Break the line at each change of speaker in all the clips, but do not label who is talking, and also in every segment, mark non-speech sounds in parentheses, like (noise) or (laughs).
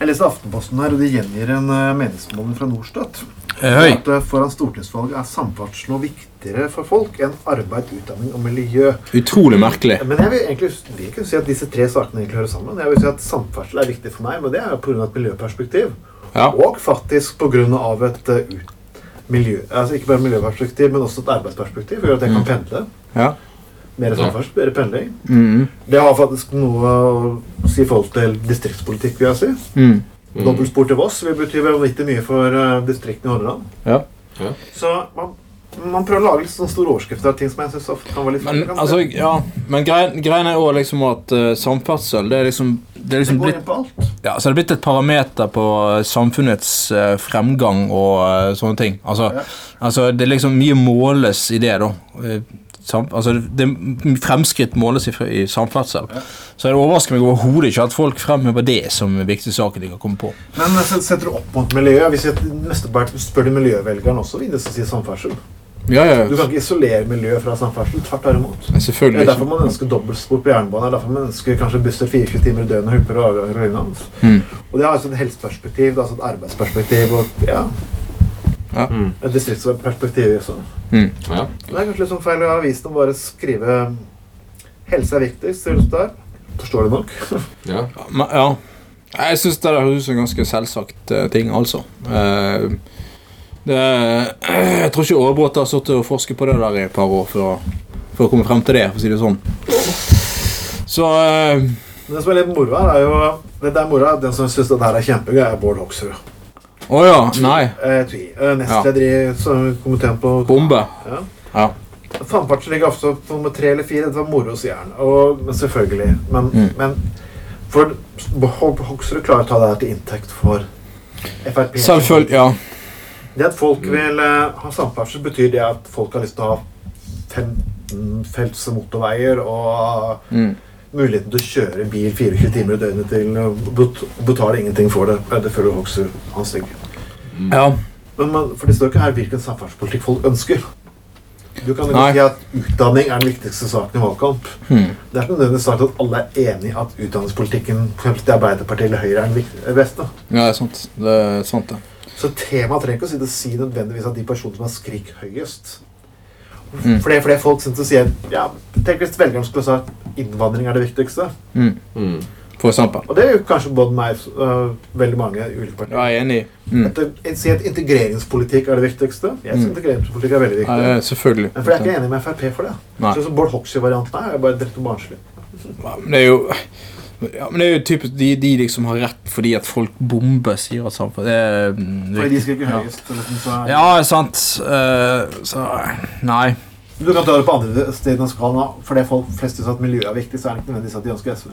Jeg leste Aftenposten her, og de gjengir en eh, meningsmåling fra Norstat.
Høy.
At eh, foran stortingsvalget er samferdsel noe viktigere for folk enn arbeid, utdanning og miljø.
Utrolig merkelig.
Men jeg vil egentlig vil kunne si at disse tre sakene egentlig hører sammen. Jeg vil si at Samferdsel er viktig for meg, men det er pga. et miljøperspektiv.
Ja.
Og faktisk pga. et eh, ut- miljø... Altså ikke bare miljøperspektiv, men også et arbeidsperspektiv. Gjør at jeg kan pendle.
Mm. Ja.
Mer samferdsel, bedre pendling.
Mm,
Det har faktisk noe å si i forhold til distriktspolitikk, vil jeg si.
mm.
Dobbeltspor til Voss vil bety vanvittig mye for eh, distriktene i Hordaland.
Ja.
Så man, man prøver å lage litt sånne store overskrifter av ting som jeg syns ofte kan være litt
Men, altså, ja. Men greien, greien er òg liksom at eh, samferdsel det er liksom, det er
Det
liksom
går
blitt,
inn på alt.
ja, så det er blitt et parameter på eh, samfunnets eh, fremgang og eh, sånne ting. Altså,
Ja.
altså, det er liksom mye måles i det, da. Eh, Sam, altså, det, det- fremskritt måles i, i samferdsel. Så det overrasker meg overhodet ikke at folk fremhever det som den viktigste saken de kan komme på.
Men eh, set- setter du opp mot miljøet Hvis jeg mesteparten spør du miljøvelgeren også, vil det si samferdsel.
Ja, ja,
Du kan ikke isolere miljø fra samferdsel. Tvert imot. Det
Selvfølgelig
er derfor
ikke.
man ønsker dobbeltspor på jernbane. Det er derfor man ønsker kanskje busser 24 timer i døgnet, hooper og avganger og lignende.
Mm.
Og det har altså et helseperspektiv, det er altså et arbeidsperspektiv og ja,
Ja.
Mm.
et distriktsperspektiv også.
Mm.
Ja.
Det er kanskje litt sånn feil i avisen å bare skrive 'helse er viktigst'. Ser du det der? Forstår du nok?
ja.
Ja, men- ja. Jeg syns det der høres ut som en ganske selvsagt eh, ting, altså. Eh, det, (clears throat) jeg tror ikke Aabrot har sittet og forsket på det der i et par år for å, for å komme frem til det, for å si det sånn. Så eh,
(laughs) Men det som er litt moro her, er jo Det der moro er den som syns det her er kjempegøy, er Bård Hoksrud.
Å ja, nei.
Eh, tvi. Eh, Nestleder i som komiteen på
Bombe.
Ja.
Ja.
Tannparten ligger ofte på nummer tre eller fire. Det var moro, sier han. Og, men selvfølgelig. Men,
Mm.
men for Ho- Hoksrud klarer å ta det her til inntekt for Frp.
Selvfølgelig. Ja.
Det at folk vil eh, ha samferdsel, betyr det at folk har lyst til å ha 15 felts motorveier og
Mm.
muligheten til å kjøre bil 24 timer i døgnet til og bet- og betale ingenting for det. Eh, Det føler Hoksrud hans tenker.
ja.
Men man, for det står ikke her hvilken samferdselspolitikk folk ønsker. Du kan ikke
Nei.
si at utdanning er den viktigste saken i valgkamp.
Hmm.
Det er ikke nødvendigvis sagt at alle er enig i at utdanningspolitikken for eksempel til Arbeiderpartiet eller Høyre er den vik- eh, beste.
ja, det er sant. Det er sant, det.
Så temaet trenger ikke å si, det si nødvendigvis at de personene som har skrik høyest
Mm.
Flere flere folk syns det sier ja, Tenk hvis velgerne skulle sagt innvandring er det viktigste.
Mm.
Mm.
For eksempel.
Og det er jo kanskje både meg og veldig mange ulike partier.
Ja, jeg er enig. Mm.
At- Si at integreringspolitikk er det viktigste. Jeg syns
Mm.
integreringspolitikk er veldig
Ja,
viktig.
ja, selvfølgelig.
Men for jeg er ikke enig med Frp for det.
Nei.
Så, så Bård Hoksrud-varianten her er bare direkte barnslig.
Ja, men det er jo ja, men det er jo typisk de, de liksom har rett fordi at folk bomber, sier at samfunn det er, mm,
Fordi de skal ikke
ja.
høyest. Liksom, så er...
Ja, sant. eh, så Nei.
Du kan ta det på andre steder enn skalaen. da. Fordi folk flest syns at miljøet er viktig, så er det ikke nødvendigvis at de ønsker SV.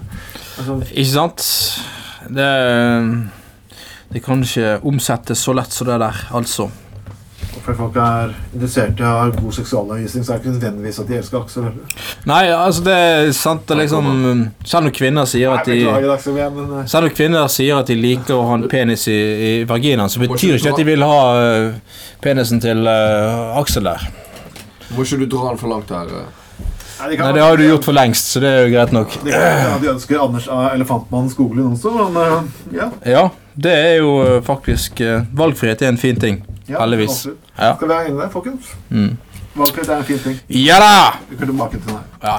Altså,
Ikke sant? Det Det kan ikke omsettes så lett som det der, altså.
fordi folk er interessert i å ha god seksualundervisning, så er det ikke nødvendigvis at de elsker Aksel Høyre.
Nei, altså, det er sant det er liksom Selv om kvinner sier at de
Beklager, Aksel, men men, eh,
selv om kvinner sier at de liker å ha en penis i, i vaginaen, så betyr ikke det at de vil ha eh, penisen til eh, Aksel der.
Må ikke du dra den for langt her? eh?
nei, de kan-
Nei, Det har jo du gjort for lengst, så det er jo greit nok.
De, kan, ja, de ønsker Anders A. Elefantmannen Skoglund også, men eh, ja.
Ja, det er jo eh, faktisk eh, Valgfrihet er en fin ting.
ja
Heldigvis.
absolutt.
Ja.
Skal vi ha inne der, folkens?
Mm.
Valgfrihet er en fin ting.
Ja da!
Vi går tilbake til den her.
Ja,